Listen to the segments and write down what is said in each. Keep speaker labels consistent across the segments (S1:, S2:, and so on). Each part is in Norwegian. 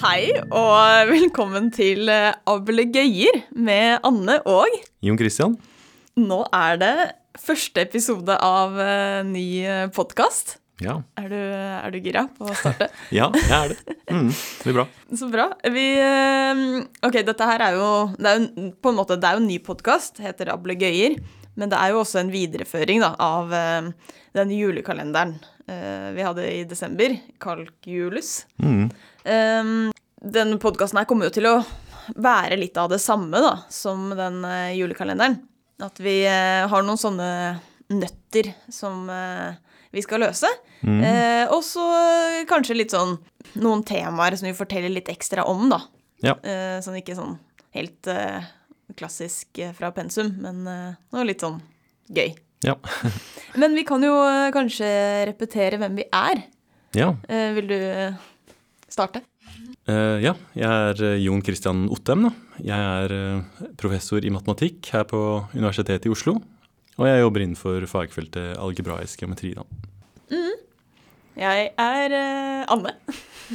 S1: Hei og velkommen til eh, Ablegøyer med Anne og
S2: Jon Christian,
S1: Nå er det første episode av eh, ny podkast.
S2: ja.
S1: Er, du- er du gira på å starte?
S2: ja, jeg er det. Mm, det blir bra.
S1: Så bra. Vi eh, Ok, dette her er jo Det er jo på en måte det er jo en ny podkast, heter Ablegøyer. Men det er jo også en videreføring da, av eh, den julekalenderen eh, vi hadde i desember, Kalk Julus.
S2: Mm.
S1: Um, denne podkasten her kommer jo til å være litt av det samme da, som den eh, julekalenderen. At vi eh, har noen sånne nøtter som eh, vi skal løse. Eh, og så kanskje litt sånn noen temaer som vi forteller litt ekstra om, da.
S2: Ja.
S1: Eh, sånn ikke sånn helt eh, klassisk eh, fra pensum, men eh, noe litt sånn gøy.
S2: Ja.
S1: Men vi kan jo eh, kanskje repetere hvem vi er.
S2: Ja.
S1: Eh, vil du eh, starte?
S2: Eh, ja. Jeg er eh, Jon Christian Ottem. Da. Jeg er eh, professor i matematikk her på Universitetet i Oslo. Og jeg jobber innenfor fagfeltet algebraisk geometri. Da.
S1: Jeg er eh, Anne,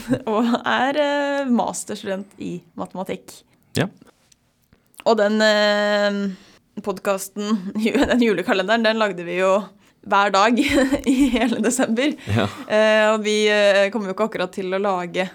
S1: og er eh, masterstudent i matematikk.
S2: Ja.
S1: Og den uh, podkasten, den julekalenderen, den lagde vi jo hver dag i hele desember.
S2: Ja.
S1: Eh, og vi eh, kommer jo ikke akkurat til å lage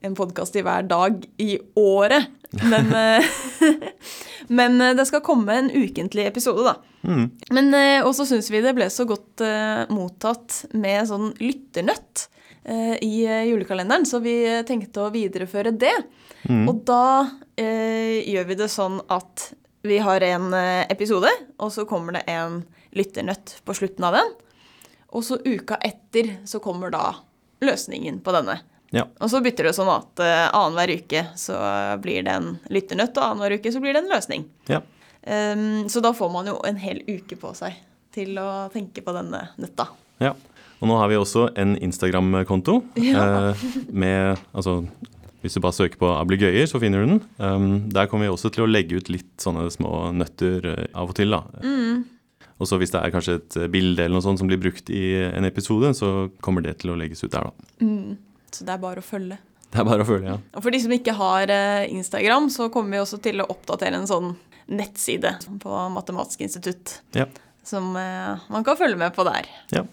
S1: en podkast i hver dag i året. Men, eh, men eh, det skal komme en ukentlig episode, da.
S2: Mm.
S1: Men eh, også syns vi det ble så godt eh, mottatt med sånn lytternøtt eh, i eh, julekalenderen, så vi eh, tenkte å videreføre det. Og da eh, gjør vi det sånn at vi har en eh, episode, og så kommer det en lytternøtt på slutten av den. Og så uka etter så kommer da løsningen på denne.
S2: ja.
S1: Og så bytter det sånn at eh, annenhver uke så blir det en lytternøtt, og annenhver uke så blir det en løsning.
S2: Ja.
S1: Ehm, så da får man jo en hel uke på seg til å tenke på denne nøtta.
S2: Ja. Og nå har vi også en Instagram-konto.
S1: Ja.
S2: eh, med, altså, hvis du bare søker på ablegøyer, så finner du den. Um, der kommer vi også til å legge ut litt sånne små nøtter eh, av og til. da. Og så hvis det er kanskje et eh, bilde eller noe sånt som blir brukt i en episode, så kommer det til å legges ut der, da.
S1: Så det er bare å følge.
S2: Det er bare å følge, ja.
S1: Og for de som ikke har eh, Instagram, så kommer vi også til å oppdatere en sånn nettside på Matematisk institutt
S2: Ja.
S1: som eh, man kan følge med på der.
S2: ja.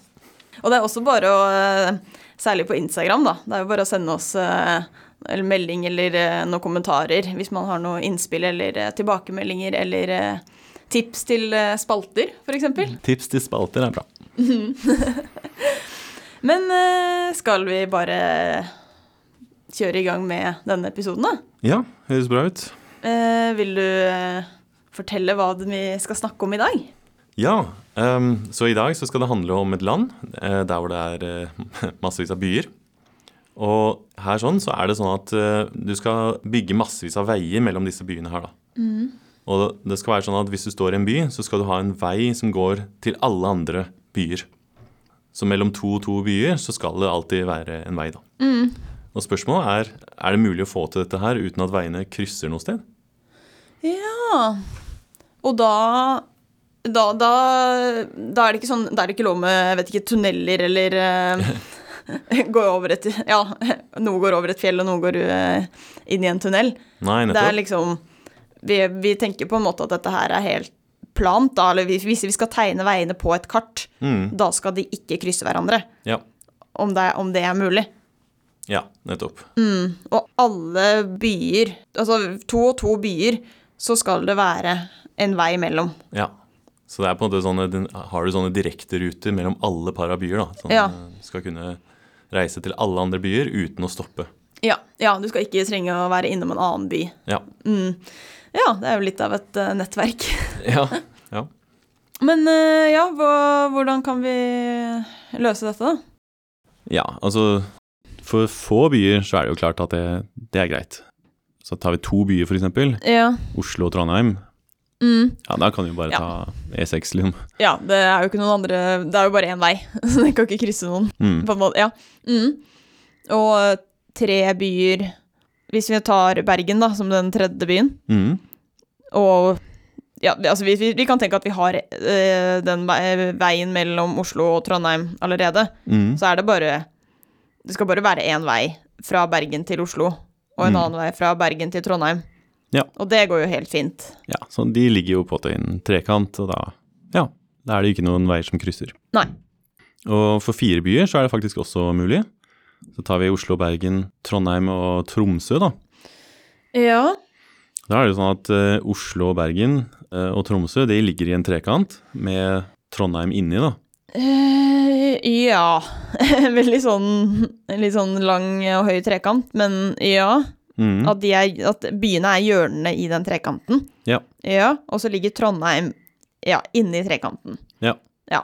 S1: Og det er også bare å eh, Særlig på Instagram, da. Det er jo bare å sende oss eh, eller melding eller eh, noen kommentarer hvis man har noe innspill eller eh, tilbakemeldinger eller eh, tips til eh, spalter, f.eks.
S2: Tips til spalter er bra.
S1: Men eh, skal vi bare kjøre i gang med denne episoden, da?
S2: Ja, høres bra ut.
S1: Eh, vil du eh, fortelle hva det vi skal snakke om i dag?
S2: Ja, ehm, så i dag så skal det handle om et land eh, der hvor det er eh, massevis av byer. Og her sånn så er det sånn at eh, du skal bygge massevis av veier mellom disse byene her, da.
S1: Mm.
S2: Og det skal være sånn at hvis du står i en by, så skal du ha en vei som går til alle andre byer. Så mellom to og to byer så skal det alltid være en vei, da.
S1: Mm.
S2: Og spørsmålet er er det mulig å få til dette her uten at veiene krysser noe sted.
S1: Ja Og da da, da, da er det ikke sånn Da er det ikke lov med jeg vet ikke, tunneler eller eh, går over et, Ja, noe går over et fjell, og noe går eh, inn i en tunnel.
S2: Nei,
S1: Det er
S2: nettopp.
S1: liksom vi, vi tenker på en måte at dette her er helt plant, da. Eller hvis- hvis vi skal tegne veiene på et kart, da skal de ikke krysse hverandre.
S2: Mm. Ja.
S1: Om det, om det er mulig.
S2: ja, nettopp.
S1: Og alle byer, altså to og to byer, så skal det være en vei imellom.
S2: Ja. Så det er på en måte sånne, den- har du sånne direkteruter mellom alle par av byer, da. Sånn
S1: Ja.
S2: eh, du skal kunne reise til alle andre byer uten å stoppe.
S1: Ja, ja, du skal ikke trenge å være innom en annen by. Mm.
S2: Ja.
S1: Ja, det er jo litt av et eh, nettverk.
S2: Ja. ja.
S1: Men eh, ja, hva, hvordan kan vi løse dette, da?
S2: ja altså For få byer så er det jo klart at det, det er greit. Så tar vi to byer, f.eks.
S1: Ja.
S2: Oslo og Trondheim.
S1: Mm.
S2: Ja, da kan vi jo bare
S1: Ja.
S2: ta E6, liksom.
S1: Ja, det er jo ikke noen andre Det er jo bare én vei, så den kan ikke krysse noen.
S2: Mm.
S1: På en måte, ja. mm. Og eh, tre byer Hvis vi tar Bergen, da, som den tredje byen,
S2: Mm.
S1: og ja, vi- altså vi, vi, vi kan tenke at vi har eh, den vei- veien mellom Oslo og Trondheim allerede.
S2: Mm.
S1: Så er det bare Det skal bare være én vei fra Bergen til Oslo, og en annen vei fra Bergen til Trondheim.
S2: Ja.
S1: Og det går jo helt fint.
S2: Ja, så de ligger jo på til en trekant, og da, ja, da er det jo ikke noen veier som krysser.
S1: Nei.
S2: Og for fire byer så er det faktisk også mulig. Så tar vi Oslo, Bergen, Trondheim og Tromsø, da.
S1: Ja.
S2: Da er det jo sånn at eh, Oslo, Bergen eh, og Tromsø de ligger i en trekant med Trondheim inni, da.
S1: Eh, ja. Veldig sånn, litt sånn lang og høy trekant, men ja.
S2: Mm.
S1: At, de er, at byene er hjørnene i den trekanten.
S2: Ja.
S1: Ja, Og så ligger Trondheim ja, inni trekanten.
S2: ja.
S1: Ja.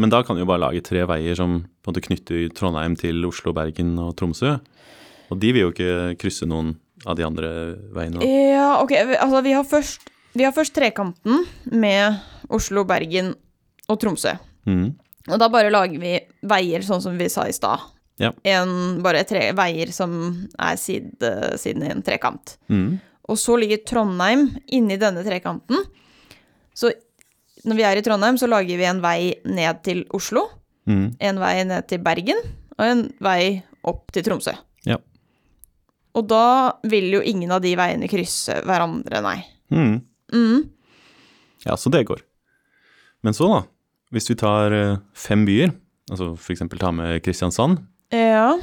S2: Men da kan vi jo bare lage tre veier som på en måte knytter Trondheim til Oslo, Bergen og Tromsø. Og de vil jo ikke krysse noen av de andre veiene. da.
S1: Ja, ok. vi- Altså, vi har først, vi har først trekanten med Oslo, Bergen og Tromsø.
S2: Mm.
S1: Og da bare lager vi veier, sånn som vi sa i stad.
S2: Ja.
S1: En, bare tre veier som er side, siden i en trekant.
S2: Mm.
S1: Og så ligger Trondheim inni denne trekanten. Så når vi er i Trondheim, så lager vi en vei ned til Oslo,
S2: Mm.
S1: en vei ned til Bergen og en vei opp til Tromsø.
S2: Ja.
S1: Og da vil jo ingen av de veiene krysse hverandre, nei.
S2: Mm.
S1: Mm.
S2: Ja, så det går. Men så, da. Hvis vi tar eh, fem byer, altså for eksempel ta med Kristiansand,
S1: Ja.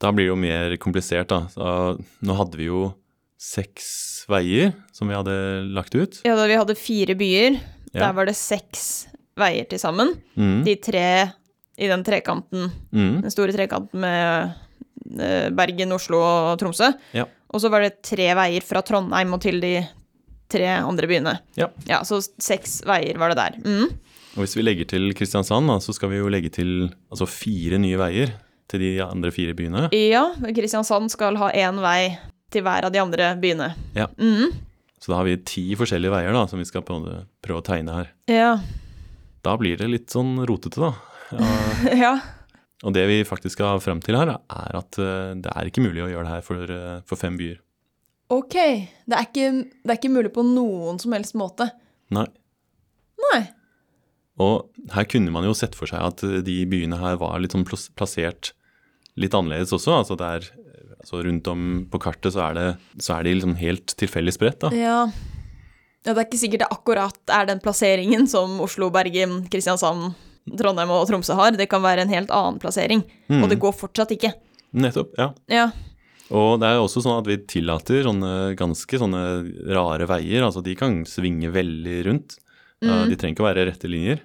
S2: da blir det jo mer komplisert, da. Så, nå hadde vi jo seks veier som vi hadde lagt ut.
S1: ja, da vi hadde fire byer,
S2: Ja.
S1: der var det seks veier til sammen.
S2: Mm.
S1: De tre i den trekanten,
S2: Mm.
S1: den store trekanten med eh, Bergen, Oslo og Tromsø.
S2: Ja.
S1: Og så var det tre veier fra Trondheim og til de tre andre byene.
S2: Ja.
S1: Ja, så seks veier var det der. Mm.
S2: Og hvis vi legger til Kristiansand, da, så skal vi jo legge til altså fire nye veier til de andre fire byene.
S1: Ja, Kristiansand skal ha én vei til hver av de andre byene.
S2: Ja.
S1: Mm.
S2: Så da har vi ti forskjellige veier da, som vi skal på en måte prøve å tegne her.
S1: Ja.
S2: Da blir det litt sånn rotete, da.
S1: ja.
S2: Og det vi faktisk skal frem til her, er at eh, det er ikke mulig å gjøre det her for, eh, for fem byer.
S1: Ok. Det er, ikke, det er ikke mulig på noen som helst måte.
S2: Nei.
S1: Nei.
S2: Og her kunne man jo sett for seg at eh, de byene her var litt sånn plas- plassert litt annerledes også. Altså det er, eh, altså rundt om på kartet så er, det, så er de liksom helt tilfeldig spredt. Da.
S1: Ja. ja, det er ikke sikkert det akkurat er den plasseringen som Oslo, Bergen, Kristiansand, Trondheim og Tromsø har. Det kan være en helt annen plassering, og det går fortsatt ikke.
S2: Nettopp, ja.
S1: Ja,
S2: Og det er jo også sånn at vi tillater sånne ganske sånne rare veier. Altså de kan svinge veldig rundt. Eh, De trenger ikke å være rette linjer.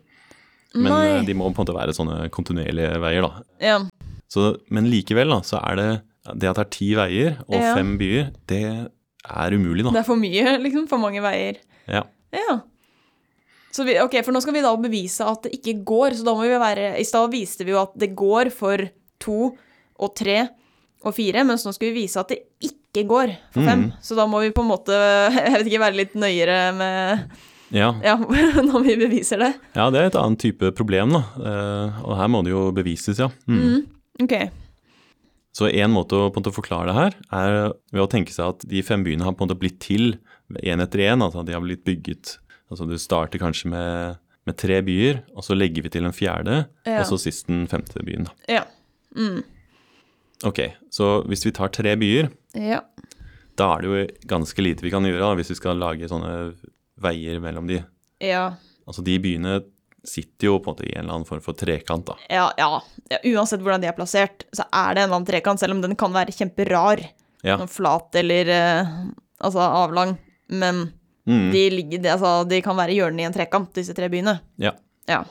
S2: Men
S1: Mm. Nei.
S2: eh, de må på en måte være sånne kontinuerlige veier, da.
S1: ja.
S2: Så, men likevel, da, så er det det at det er ti veier og
S1: Ja.
S2: fem byer, det er umulig,
S1: Det
S2: da.
S1: er for mye, liksom. For mange veier.
S2: Ja.
S1: Ja. Så vi, ok, For nå skal vi da bevise at det ikke går, så da må vi være I stad viste vi jo at det går for to og tre og fire, mens nå skal vi vise at det ikke går for fem. Så da må vi på en måte, jeg vet ikke, være litt nøyere med
S2: Ja.
S1: Ja, når vi beviser det.
S2: ja, det er et annet type problem, da. Eh, Og her må det jo bevises, ja. Mm.
S1: Ok.
S2: Så en måte å på en måte forklare det her, er ved å tenke seg at de fem byene har på en måte blitt til én etter én. Altså de har blitt bygget Altså du starter kanskje med, med tre byer, og så legger vi til en fjerde,
S1: Ja.
S2: og så sist den femte byen. da.
S1: Ja.
S2: Ok, så hvis vi tar tre byer,
S1: Ja.
S2: da er det jo ganske lite vi kan gjøre da, hvis vi skal lage sånne veier mellom de.
S1: Ja.
S2: Altså de byene sitter jo på en måte i en eller annen form for trekant, da.
S1: Ja, ja. ja. Uansett hvordan de er plassert, så er det en eller annen trekant, selv om den kan være kjemperar.
S2: Ja.
S1: Sånn Flat eller eh, altså avlang. Men
S2: Mm,
S1: de, ligger, de, altså, de kan være hjørnene i en trekant, disse tre byene.
S2: ja.
S1: Ja.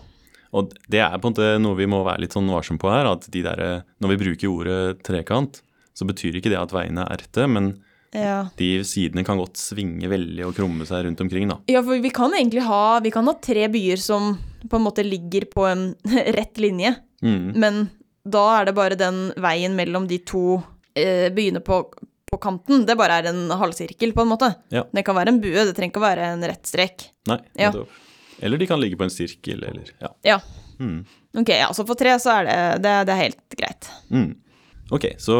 S2: Og det er på en måte noe vi må være litt sånn varsom på her, at de der, eh, når vi bruker ordet trekant, så betyr ikke det at veiene er rette, men
S1: ja.
S2: de sidene kan godt svinge veldig og krumme seg rundt omkring, da.
S1: Ja, for vi kan egentlig ha, vi kan ha tre byer som på en måte ligger på en rett linje,
S2: Mm,
S1: men da er det bare den veien mellom de to eh, byene på, på kanten. Det bare er en halvsirkel, på en måte.
S2: Ja.
S1: Det kan være en bue, det trenger ikke å være en rett strek.
S2: Nei,
S1: Ja.
S2: nettopp. Eller de kan ligge på en sirkel, eller ja.
S1: Ja.
S2: Mm.
S1: Ok, ja, så for tre så er det, det, det er helt greit.
S2: Mm. Ok, så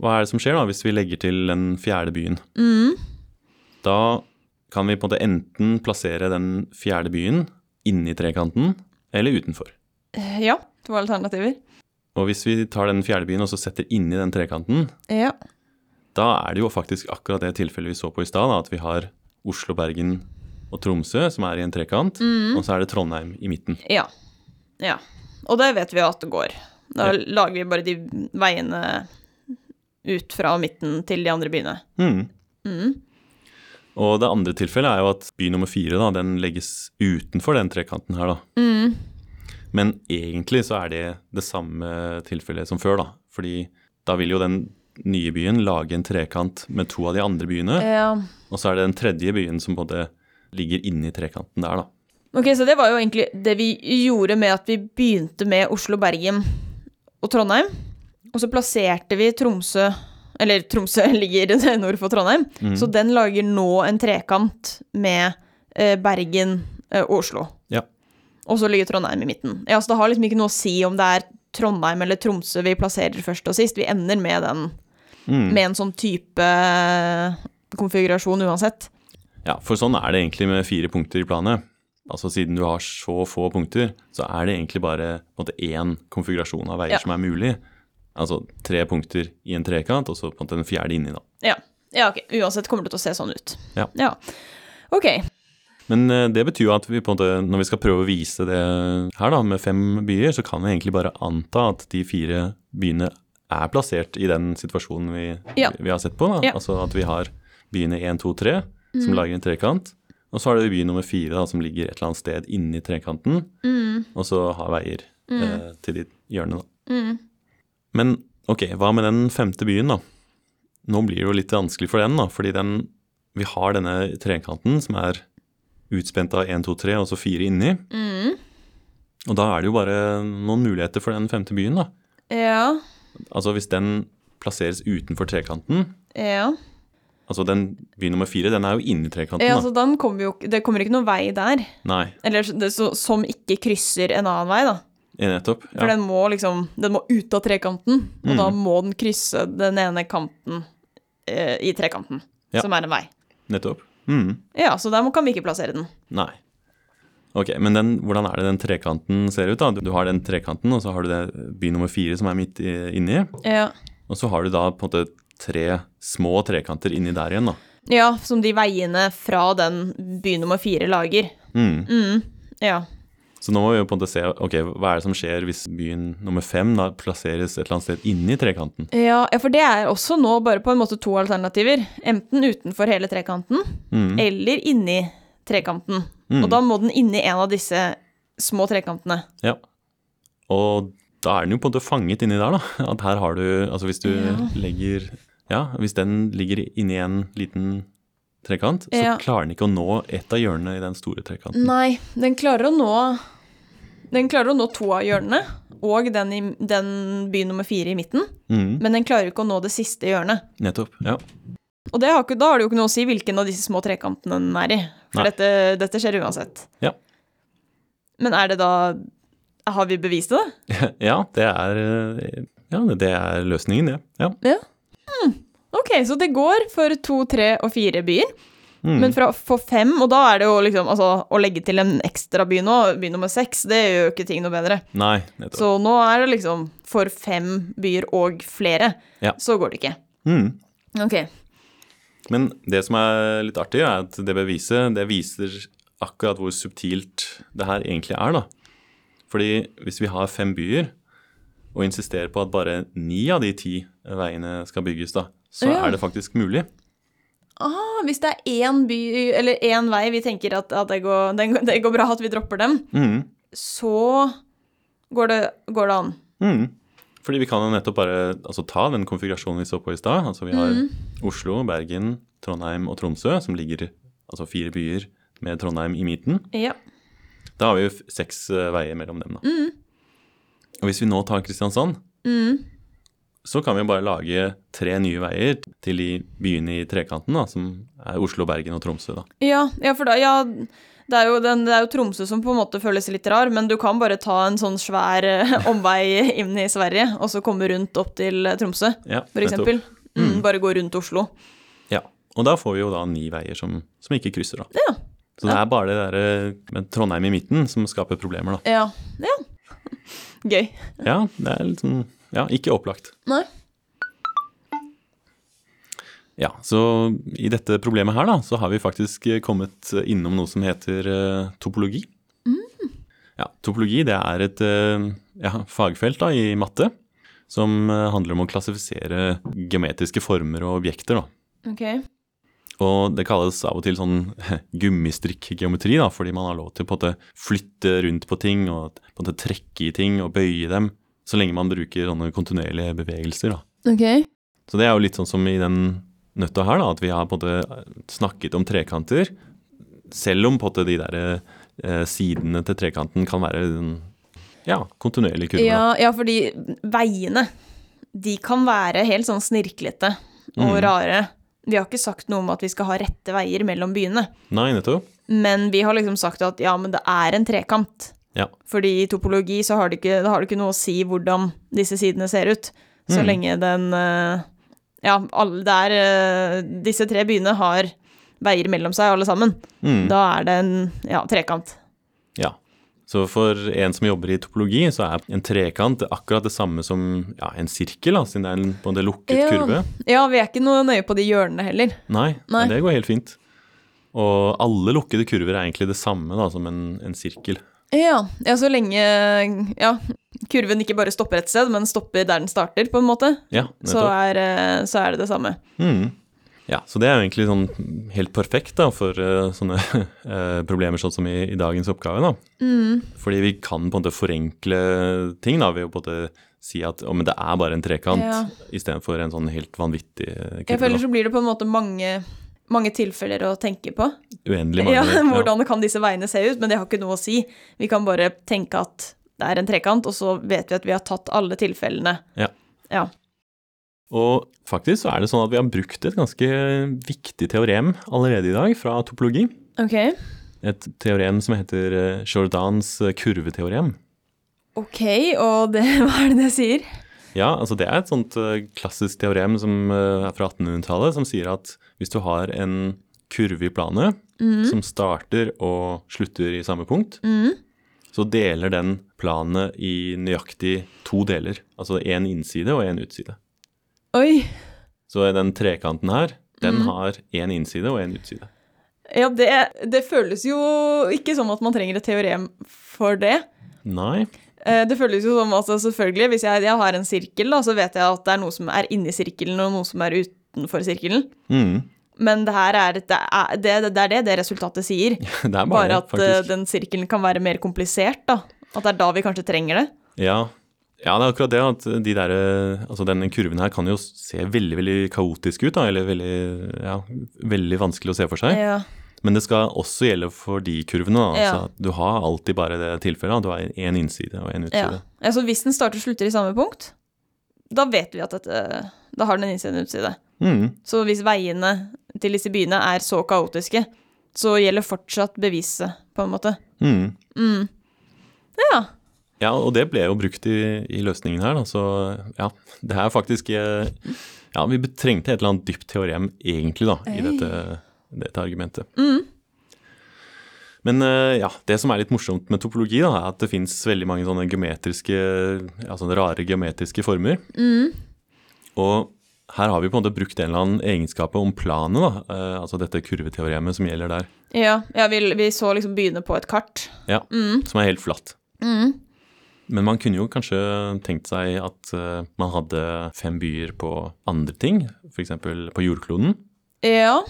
S2: hva er det som skjer da, hvis vi legger til den fjerde byen? Mm. Da kan vi på en måte enten plassere den fjerde byen inni trekanten, eller utenfor.
S1: Eh, Ja, to alternativer.
S2: Og hvis vi tar den fjerde byen og så setter inni den trekanten,
S1: Ja.
S2: Da er det jo faktisk akkurat det tilfellet vi så på i stad, da, at vi har Oslo, Bergen og Tromsø som er i en trekant, og så er det Trondheim i midten.
S1: Ja. ja. Og det vet vi jo at det går. Da lager vi bare de veiene ut fra midten til de andre byene.
S2: Mm. Og det andre tilfellet er jo at by nummer fire da, den legges utenfor den trekanten her. da. Men egentlig så er det det samme tilfellet som før, da. Fordi da vil jo den nye byen lage en trekant med to av de andre byene,
S1: Ja.
S2: og så er det den tredje byen som både ligger inni trekanten der, da.
S1: Ok, så det var jo egentlig det vi gjorde med at vi begynte med Oslo, Bergen og Trondheim. Og så plasserte vi Tromsø Eller Tromsø ligger nord for Trondheim. Så den lager nå en trekant med eh, Bergen eh, og Oslo.
S2: Ja.
S1: Og så ligger Trondheim i midten. Ja, Så det har liksom ikke noe å si om det er Trondheim eller Tromsø vi plasserer først og sist. Vi ender med den.
S2: Mm.
S1: Med en sånn type eh, konfigurasjon uansett.
S2: Ja, for sånn er det egentlig med fire punkter i planet. Altså Siden du har så få punkter, så er det egentlig bare på en måte, én konfigurasjon av veier
S1: Ja.
S2: som er mulig. Altså tre punkter i en trekant, og så på en måte den fjerde inni, da.
S1: Ja. ja, ok. Uansett kommer det til å se sånn ut.
S2: Ja.
S1: ja. Ok.
S2: Men eh, det betyr jo at vi på en måte, når vi skal prøve å vise det her da, med fem byer, så kan vi egentlig bare anta at de fire byene er plassert i den situasjonen vi,
S1: Ja.
S2: vi har sett på. Da.
S1: Ja. Mm.
S2: Altså at vi har byene 1, 2, 3 som lager en trekant. Og så har du by nummer fire da, som ligger et eller annet sted inni trekanten.
S1: Mm.
S2: Og så har veier eh, til de hjørnene. Da.
S1: Mm.
S2: Men ok, hva med den femte byen, da? Nå blir det jo litt vanskelig for den, da, fordi den, vi har denne trekanten som er utspent av 1, 2, 3 og så 4 inni.
S1: Mm.
S2: Og da er det jo bare noen muligheter for den femte byen, da.
S1: Ja.
S2: Altså hvis den plasseres utenfor trekanten,
S1: Ja.
S2: altså den by nummer 4, den er jo inni trekanten,
S1: ja altså- så
S2: da.
S1: den kommer jo, det kommer ikke noen vei der.
S2: Nei,
S1: Eller så- det, så, som ikke krysser en annen vei, da.
S2: eh, nettopp.
S1: For
S2: Ja. Mm.
S1: den må liksom Den må ut av trekanten, og da må den krysse den ene kanten eh, i trekanten,
S2: Ja.
S1: som er en vei.
S2: Nettopp. Mm.
S1: Ja, så der må- kan vi ikke plassere den.
S2: Nei. Ok, men den, hvordan er det den trekanten ser ut, da? Du- Du har den trekanten, og så har du det by nummer 4 som er midt i, inni.
S1: Ja.
S2: Og så har du da på en måte tre små trekanter inni der igjen, da.
S1: ja, som de veiene fra den by nummer fire lager.
S2: Mm.
S1: Ja.
S2: Så nå må vi jo på en måte se ok, hva er det som skjer hvis byen nummer fem da, plasseres et eller annet sted inni trekanten.
S1: Ja, ja, for det er også nå bare på en måte to alternativer. Enten utenfor hele trekanten,
S2: Mm.
S1: eller inni trekanten. Og da må den inni en av disse små trekantene.
S2: Ja. Og da er den jo på en måte fanget inni der, da. At her har du Altså hvis du legger Ja, hvis den ligger inni en liten trekant, så
S1: Ja.
S2: klarer den ikke å nå et av hjørnene i den store trekanten.
S1: Nei, den klarer å nå Den klarer å nå to av hjørnene, og den, i, den by nummer fire i midten.
S2: Mm,
S1: Men den klarer ikke å nå det siste hjørnet.
S2: nettopp. Ja.
S1: Og det har ikke, da har det jo ikke noe å si hvilken av disse små trekantene den er i. For
S2: Nei.
S1: dette, dette skjer uansett.
S2: Ja.
S1: Men er det da Har vi bevist det, da?
S2: ja, det er eh, Ja, det er løsningen, det. Ja.
S1: Ja. Hmm. Ok, så det går for to, tre og fire byer. Men fra, for fem, og da er det jo liksom altså, Å legge til en ekstra by nå, by nummer seks, det gjør jo ikke ting noe bedre.
S2: Nei, nettopp.
S1: Så nå er det liksom for fem byer og flere,
S2: Ja.
S1: så går det ikke.
S2: Mm.
S1: Ok.
S2: Men det som er litt artig, er at det beviset det viser akkurat hvor subtilt det her egentlig er. da. Fordi hvis vi har fem byer og insisterer på at bare ni av de ti veiene skal bygges, da, så
S1: Ja.
S2: er det faktisk mulig.
S1: Ah, hvis det er én by, eller én vei, vi tenker at, at det, går, den, det går bra at vi dropper dem,
S2: Mhm.
S1: så går det, går det an.
S2: Mhm. Fordi vi kan jo nettopp bare altså, ta den konfigurasjonen vi så på i stad. Altså, vi har Oslo, Bergen, Trondheim og Tromsø, som ligger altså fire byer med Trondheim i midten.
S1: Ja.
S2: Da har vi jo f- seks eh, veier mellom dem, da.
S1: Mm.
S2: Og hvis vi nå tar Kristiansand, så kan vi jo bare lage tre nye veier til de byene i trekanten, da, som er Oslo, Bergen og Tromsø, da.
S1: Ja, ja for da, ja, det, er jo den, det er jo Tromsø som på en måte føles litt rar, men du kan bare ta en sånn svær eh, omvei inn i Sverige, og så komme rundt opp til eh, Tromsø,
S2: Ja,
S1: for eksempel.
S2: nettopp.
S1: Mm, bare gå rundt Oslo.
S2: Ja. Og da får vi jo da ni veier som, som ikke krysser, da.
S1: Ja,
S2: Så det er bare det derre med Trondheim i midten som skaper problemer, da.
S1: ja, ja. Gøy.
S2: Ja, det er litt sånn Ja, ikke opplagt.
S1: Nei.
S2: Ja, så i dette problemet her da, så har vi faktisk eh, kommet innom noe som heter eh, topologi. Ja, topologi det er et eh, ja, fagfelt da, i matte som eh, handler om å klassifisere geometriske former og objekter. Da.
S1: Ok.
S2: Og det kalles av og til sånn gummistrikkgeometri, da, fordi man har lov til å på en måte flytte rundt på ting og på en måte trekke i ting og bøye dem, så lenge man bruker sånne kontinuerlige bevegelser. Da.
S1: Ok.
S2: Så det er jo litt sånn som i den nøtta her, da, at vi har på en måte snakket om trekanter. Selv om på en måte de der eh, sidene til trekanten kan være en ja, kontinuerlig kurve. da.
S1: Ja, ja, fordi veiene, de kan være helt sånn snirklete og rare. Vi har ikke sagt noe om at vi skal ha rette veier mellom byene.
S2: Nei, nettopp.
S1: Men vi har liksom sagt at ja, men det er en trekant.
S2: Ja.
S1: Fordi i topologi så har det ikke, da har det ikke noe å si hvordan disse sidene ser ut, så
S2: Mm.
S1: lenge den eh, Ja, alle der eh, Disse tre byene har veier mellom seg, alle sammen.
S2: Mm.
S1: Da er det en ja, trekant.
S2: Ja. Så for en som jobber i topologi, så er en trekant akkurat det samme som ja, en sirkel, da, siden det er en på en måte lukket kurve.
S1: ja, vi er ikke noe nøye på de hjørnene heller.
S2: Nei,
S1: Nei.
S2: det går helt fint. Og alle lukkede kurver er egentlig det samme da, som en, en sirkel.
S1: Ja, ja, så lenge ja, kurven ikke bare stopper et sted, men stopper der den starter, på en måte,
S2: Ja,
S1: så er, eh, så er det det samme.
S2: Mm. Ja, så det er jo egentlig sånn helt perfekt da, for eh, sånne eh, problemer sånn som i, i dagens oppgave. Da.
S1: Mm.
S2: Fordi vi kan på en måte forenkle ting da, ved å på en måte si at å, men det er bare en trekant,
S1: Ja.
S2: istedenfor en sånn helt vanvittig eh,
S1: Jeg
S2: kurve.
S1: føler
S2: da.
S1: så blir det på en måte mange, mange tilfeller å tenke på.
S2: Uendelig mange.
S1: Ja, hvordan kan disse veiene se ut, men det har ikke noe å si. Vi kan bare tenke at det er en trekant, og så vet vi at vi har tatt alle tilfellene.
S2: Ja.
S1: Ja.
S2: Og faktisk så er det sånn at vi har brukt et ganske viktig teorem allerede i dag fra topologi.
S1: Ok.
S2: Et teorem som heter eh, Jordans eh, kurveteorem.
S1: Ok, og det, hva er det det sier?
S2: Ja, altså det er et sånt eh, klassisk teorem som eh, er fra 1800-tallet, som sier at hvis du har en kurve i planet
S1: Mhm.
S2: som starter og slutter i samme punkt, så deler den planet i nøyaktig to deler. Altså én innside og én utside.
S1: Oi.
S2: Så den trekanten her, den
S1: Mhm.
S2: har én innside og én utside.
S1: Ja, det, det føles jo ikke som at man trenger et teorem for det.
S2: Nei.
S1: Eh, Det føles jo som altså selvfølgelig, Hvis jeg, jeg har en sirkel, da, så vet jeg at det er noe som er inni sirkelen, og noe som er utenfor sirkelen.
S2: Mm.
S1: Men det her er, et- det, er, det, det er det det resultatet sier.
S2: Det er bare,
S1: Bare at eh,
S2: faktisk.
S1: den sirkelen kan være mer komplisert, da. At det er da vi kanskje trenger det.
S2: Ja. ja, det er akkurat det at de der, eh, altså denne kurven her kan jo se veldig veldig kaotisk ut, da, eller veldig, ja, veldig vanskelig å se for seg.
S1: Ja.
S2: Men det skal også gjelde for de kurvene. Da,
S1: Ja.
S2: altså, at du har alltid bare det tilfellet. da, Du har én innside og
S1: ja.
S2: én utside.
S1: Altså, hvis den starter og slutter i samme punkt, da vet vi at dette Da har den en innside og en utside.
S2: Mm,
S1: Så hvis veiene til disse byene er så kaotiske, så gjelder fortsatt beviset, på en måte.
S2: mm.
S1: Ja.
S2: Ja, og det ble jo brukt i, i løsningen her, da, så ja. Det er faktisk eh, Ja, vi trengte et eller annet dypt teorem egentlig, da, i dette, dette argumentet. Men eh, ja, det som er litt morsomt med topologi, da, er at det fins veldig mange sånne geometriske Ja, sånne rare geometriske former. Og her har vi på en måte brukt en eller annen egenskap om planet, da. eh, altså dette kurveteoremet som gjelder der.
S1: Ja, ja vi, vi så liksom byene på et kart.
S2: Ja, som er helt flatt. Men man kunne jo kanskje tenkt seg at eh, man hadde fem byer på andre ting, f.eks. på jordkloden.
S1: Ja.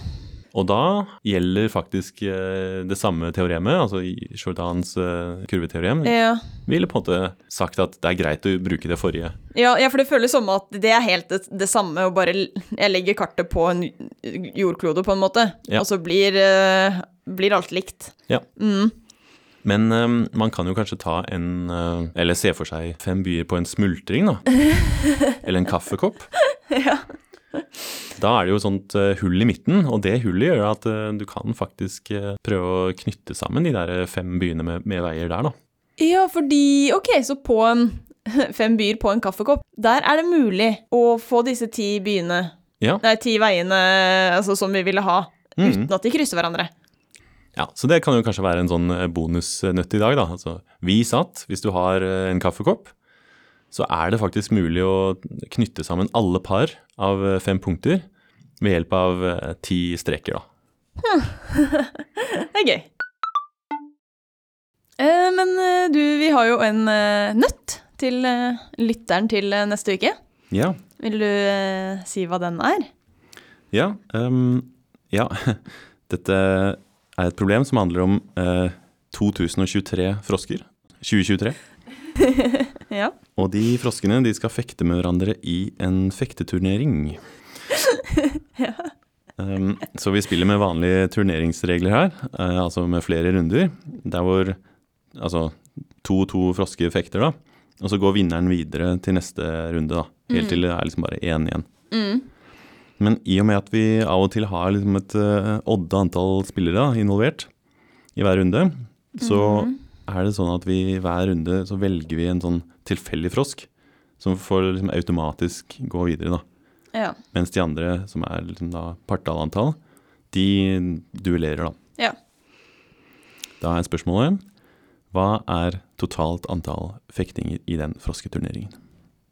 S2: Og da gjelder faktisk eh, det samme teoremet, altså i Jordans eh, kurveteorem.
S1: ja.
S2: Ville på en måte sagt at det er greit å bruke det forrige.
S1: Ja, ja, for det føles som at det er helt det, det samme, og bare l- jeg legger kartet på en jordklode, på en måte,
S2: Ja.
S1: og så blir, eh, blir alt likt.
S2: Ja. Men eh, man kan jo kanskje ta en eh, Eller se for seg fem byer på en smultring, da. Eller en kaffekopp. Da er det jo et sånt eh, hull i midten, og det hullet gjør at eh, du kan faktisk eh, prøve å knytte sammen de der eh, fem byene med, med veier der, da.
S1: Ja, fordi Ok, så på en fem byer på en kaffekopp, der er det mulig å få disse ti byene,
S2: Ja, Mhm.
S1: nei, ti veiene altså, som vi ville ha, uten at de krysser hverandre.
S2: Mm. ja, Så det kan jo kanskje være en sånn eh, bonusnøtt i dag, da. Altså, vi satt, hvis du har eh, en kaffekopp, så er det faktisk mulig å knytte sammen alle par av eh, fem punkter ved hjelp av eh, ti streker, da.
S1: Det er gøy. Eh, Men eh, du, vi har jo en eh, nøtt til eh, lytteren til eh, neste uke.
S2: Ja.
S1: Vil du eh, si hva den er?
S2: Ja, ehm, ja. Dette er et problem som handler om eh, 2023 frosker. 2023.
S1: Ja.
S2: Og de froskene de skal fekte med hverandre i en fekteturnering. Ehm, så vi spiller med vanlige turneringsregler her, eh, altså med flere runder. Der hvor altså to-to frosker fekter, da. Og så går vinneren videre til neste runde, da. Helt til det er liksom bare én igjen. Men i og med at vi av og til har liksom et eh, odde antall spillere da, involvert i hver runde, så
S1: Mhm.
S2: er det sånn at vi i hver runde så velger vi en sånn tilfeldig frosk som får liksom automatisk gå videre. da.
S1: Ja.
S2: Mens de andre, som er liksom da partallantall, de duellerer, da.
S1: ja.
S2: Da er spørsmålet hva er totalt antall fektinger i den frosketurneringen?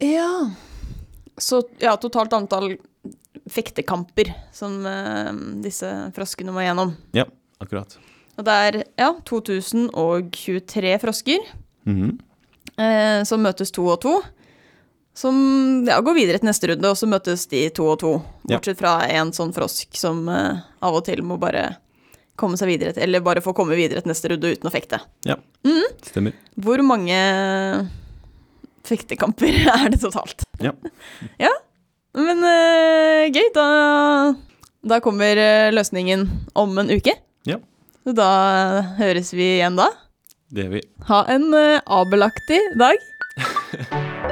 S1: ja. Så ja, totalt antall fektekamper som eh, disse froskene må gjennom.
S2: Ja, akkurat.
S1: Og det er ja, 2023 frosker
S2: Mhm.
S1: eh, som møtes to og to. Som ja, går videre til neste runde, og så møtes de to og to.
S2: Ja.
S1: Bortsett fra en sånn frosk som eh, av og til må bare komme seg videre til, eller bare få komme videre til neste runde uten å fekte.
S2: Ja, stemmer.
S1: Hvor mange fektekamper er det totalt?
S2: Ja.
S1: ja. Men eh, gøy, da, da kommer eh, løsningen om en uke.
S2: Ja,
S1: Så da høres vi igjen da.
S2: det gjør vi.
S1: Ha en eh, abelaktig dag.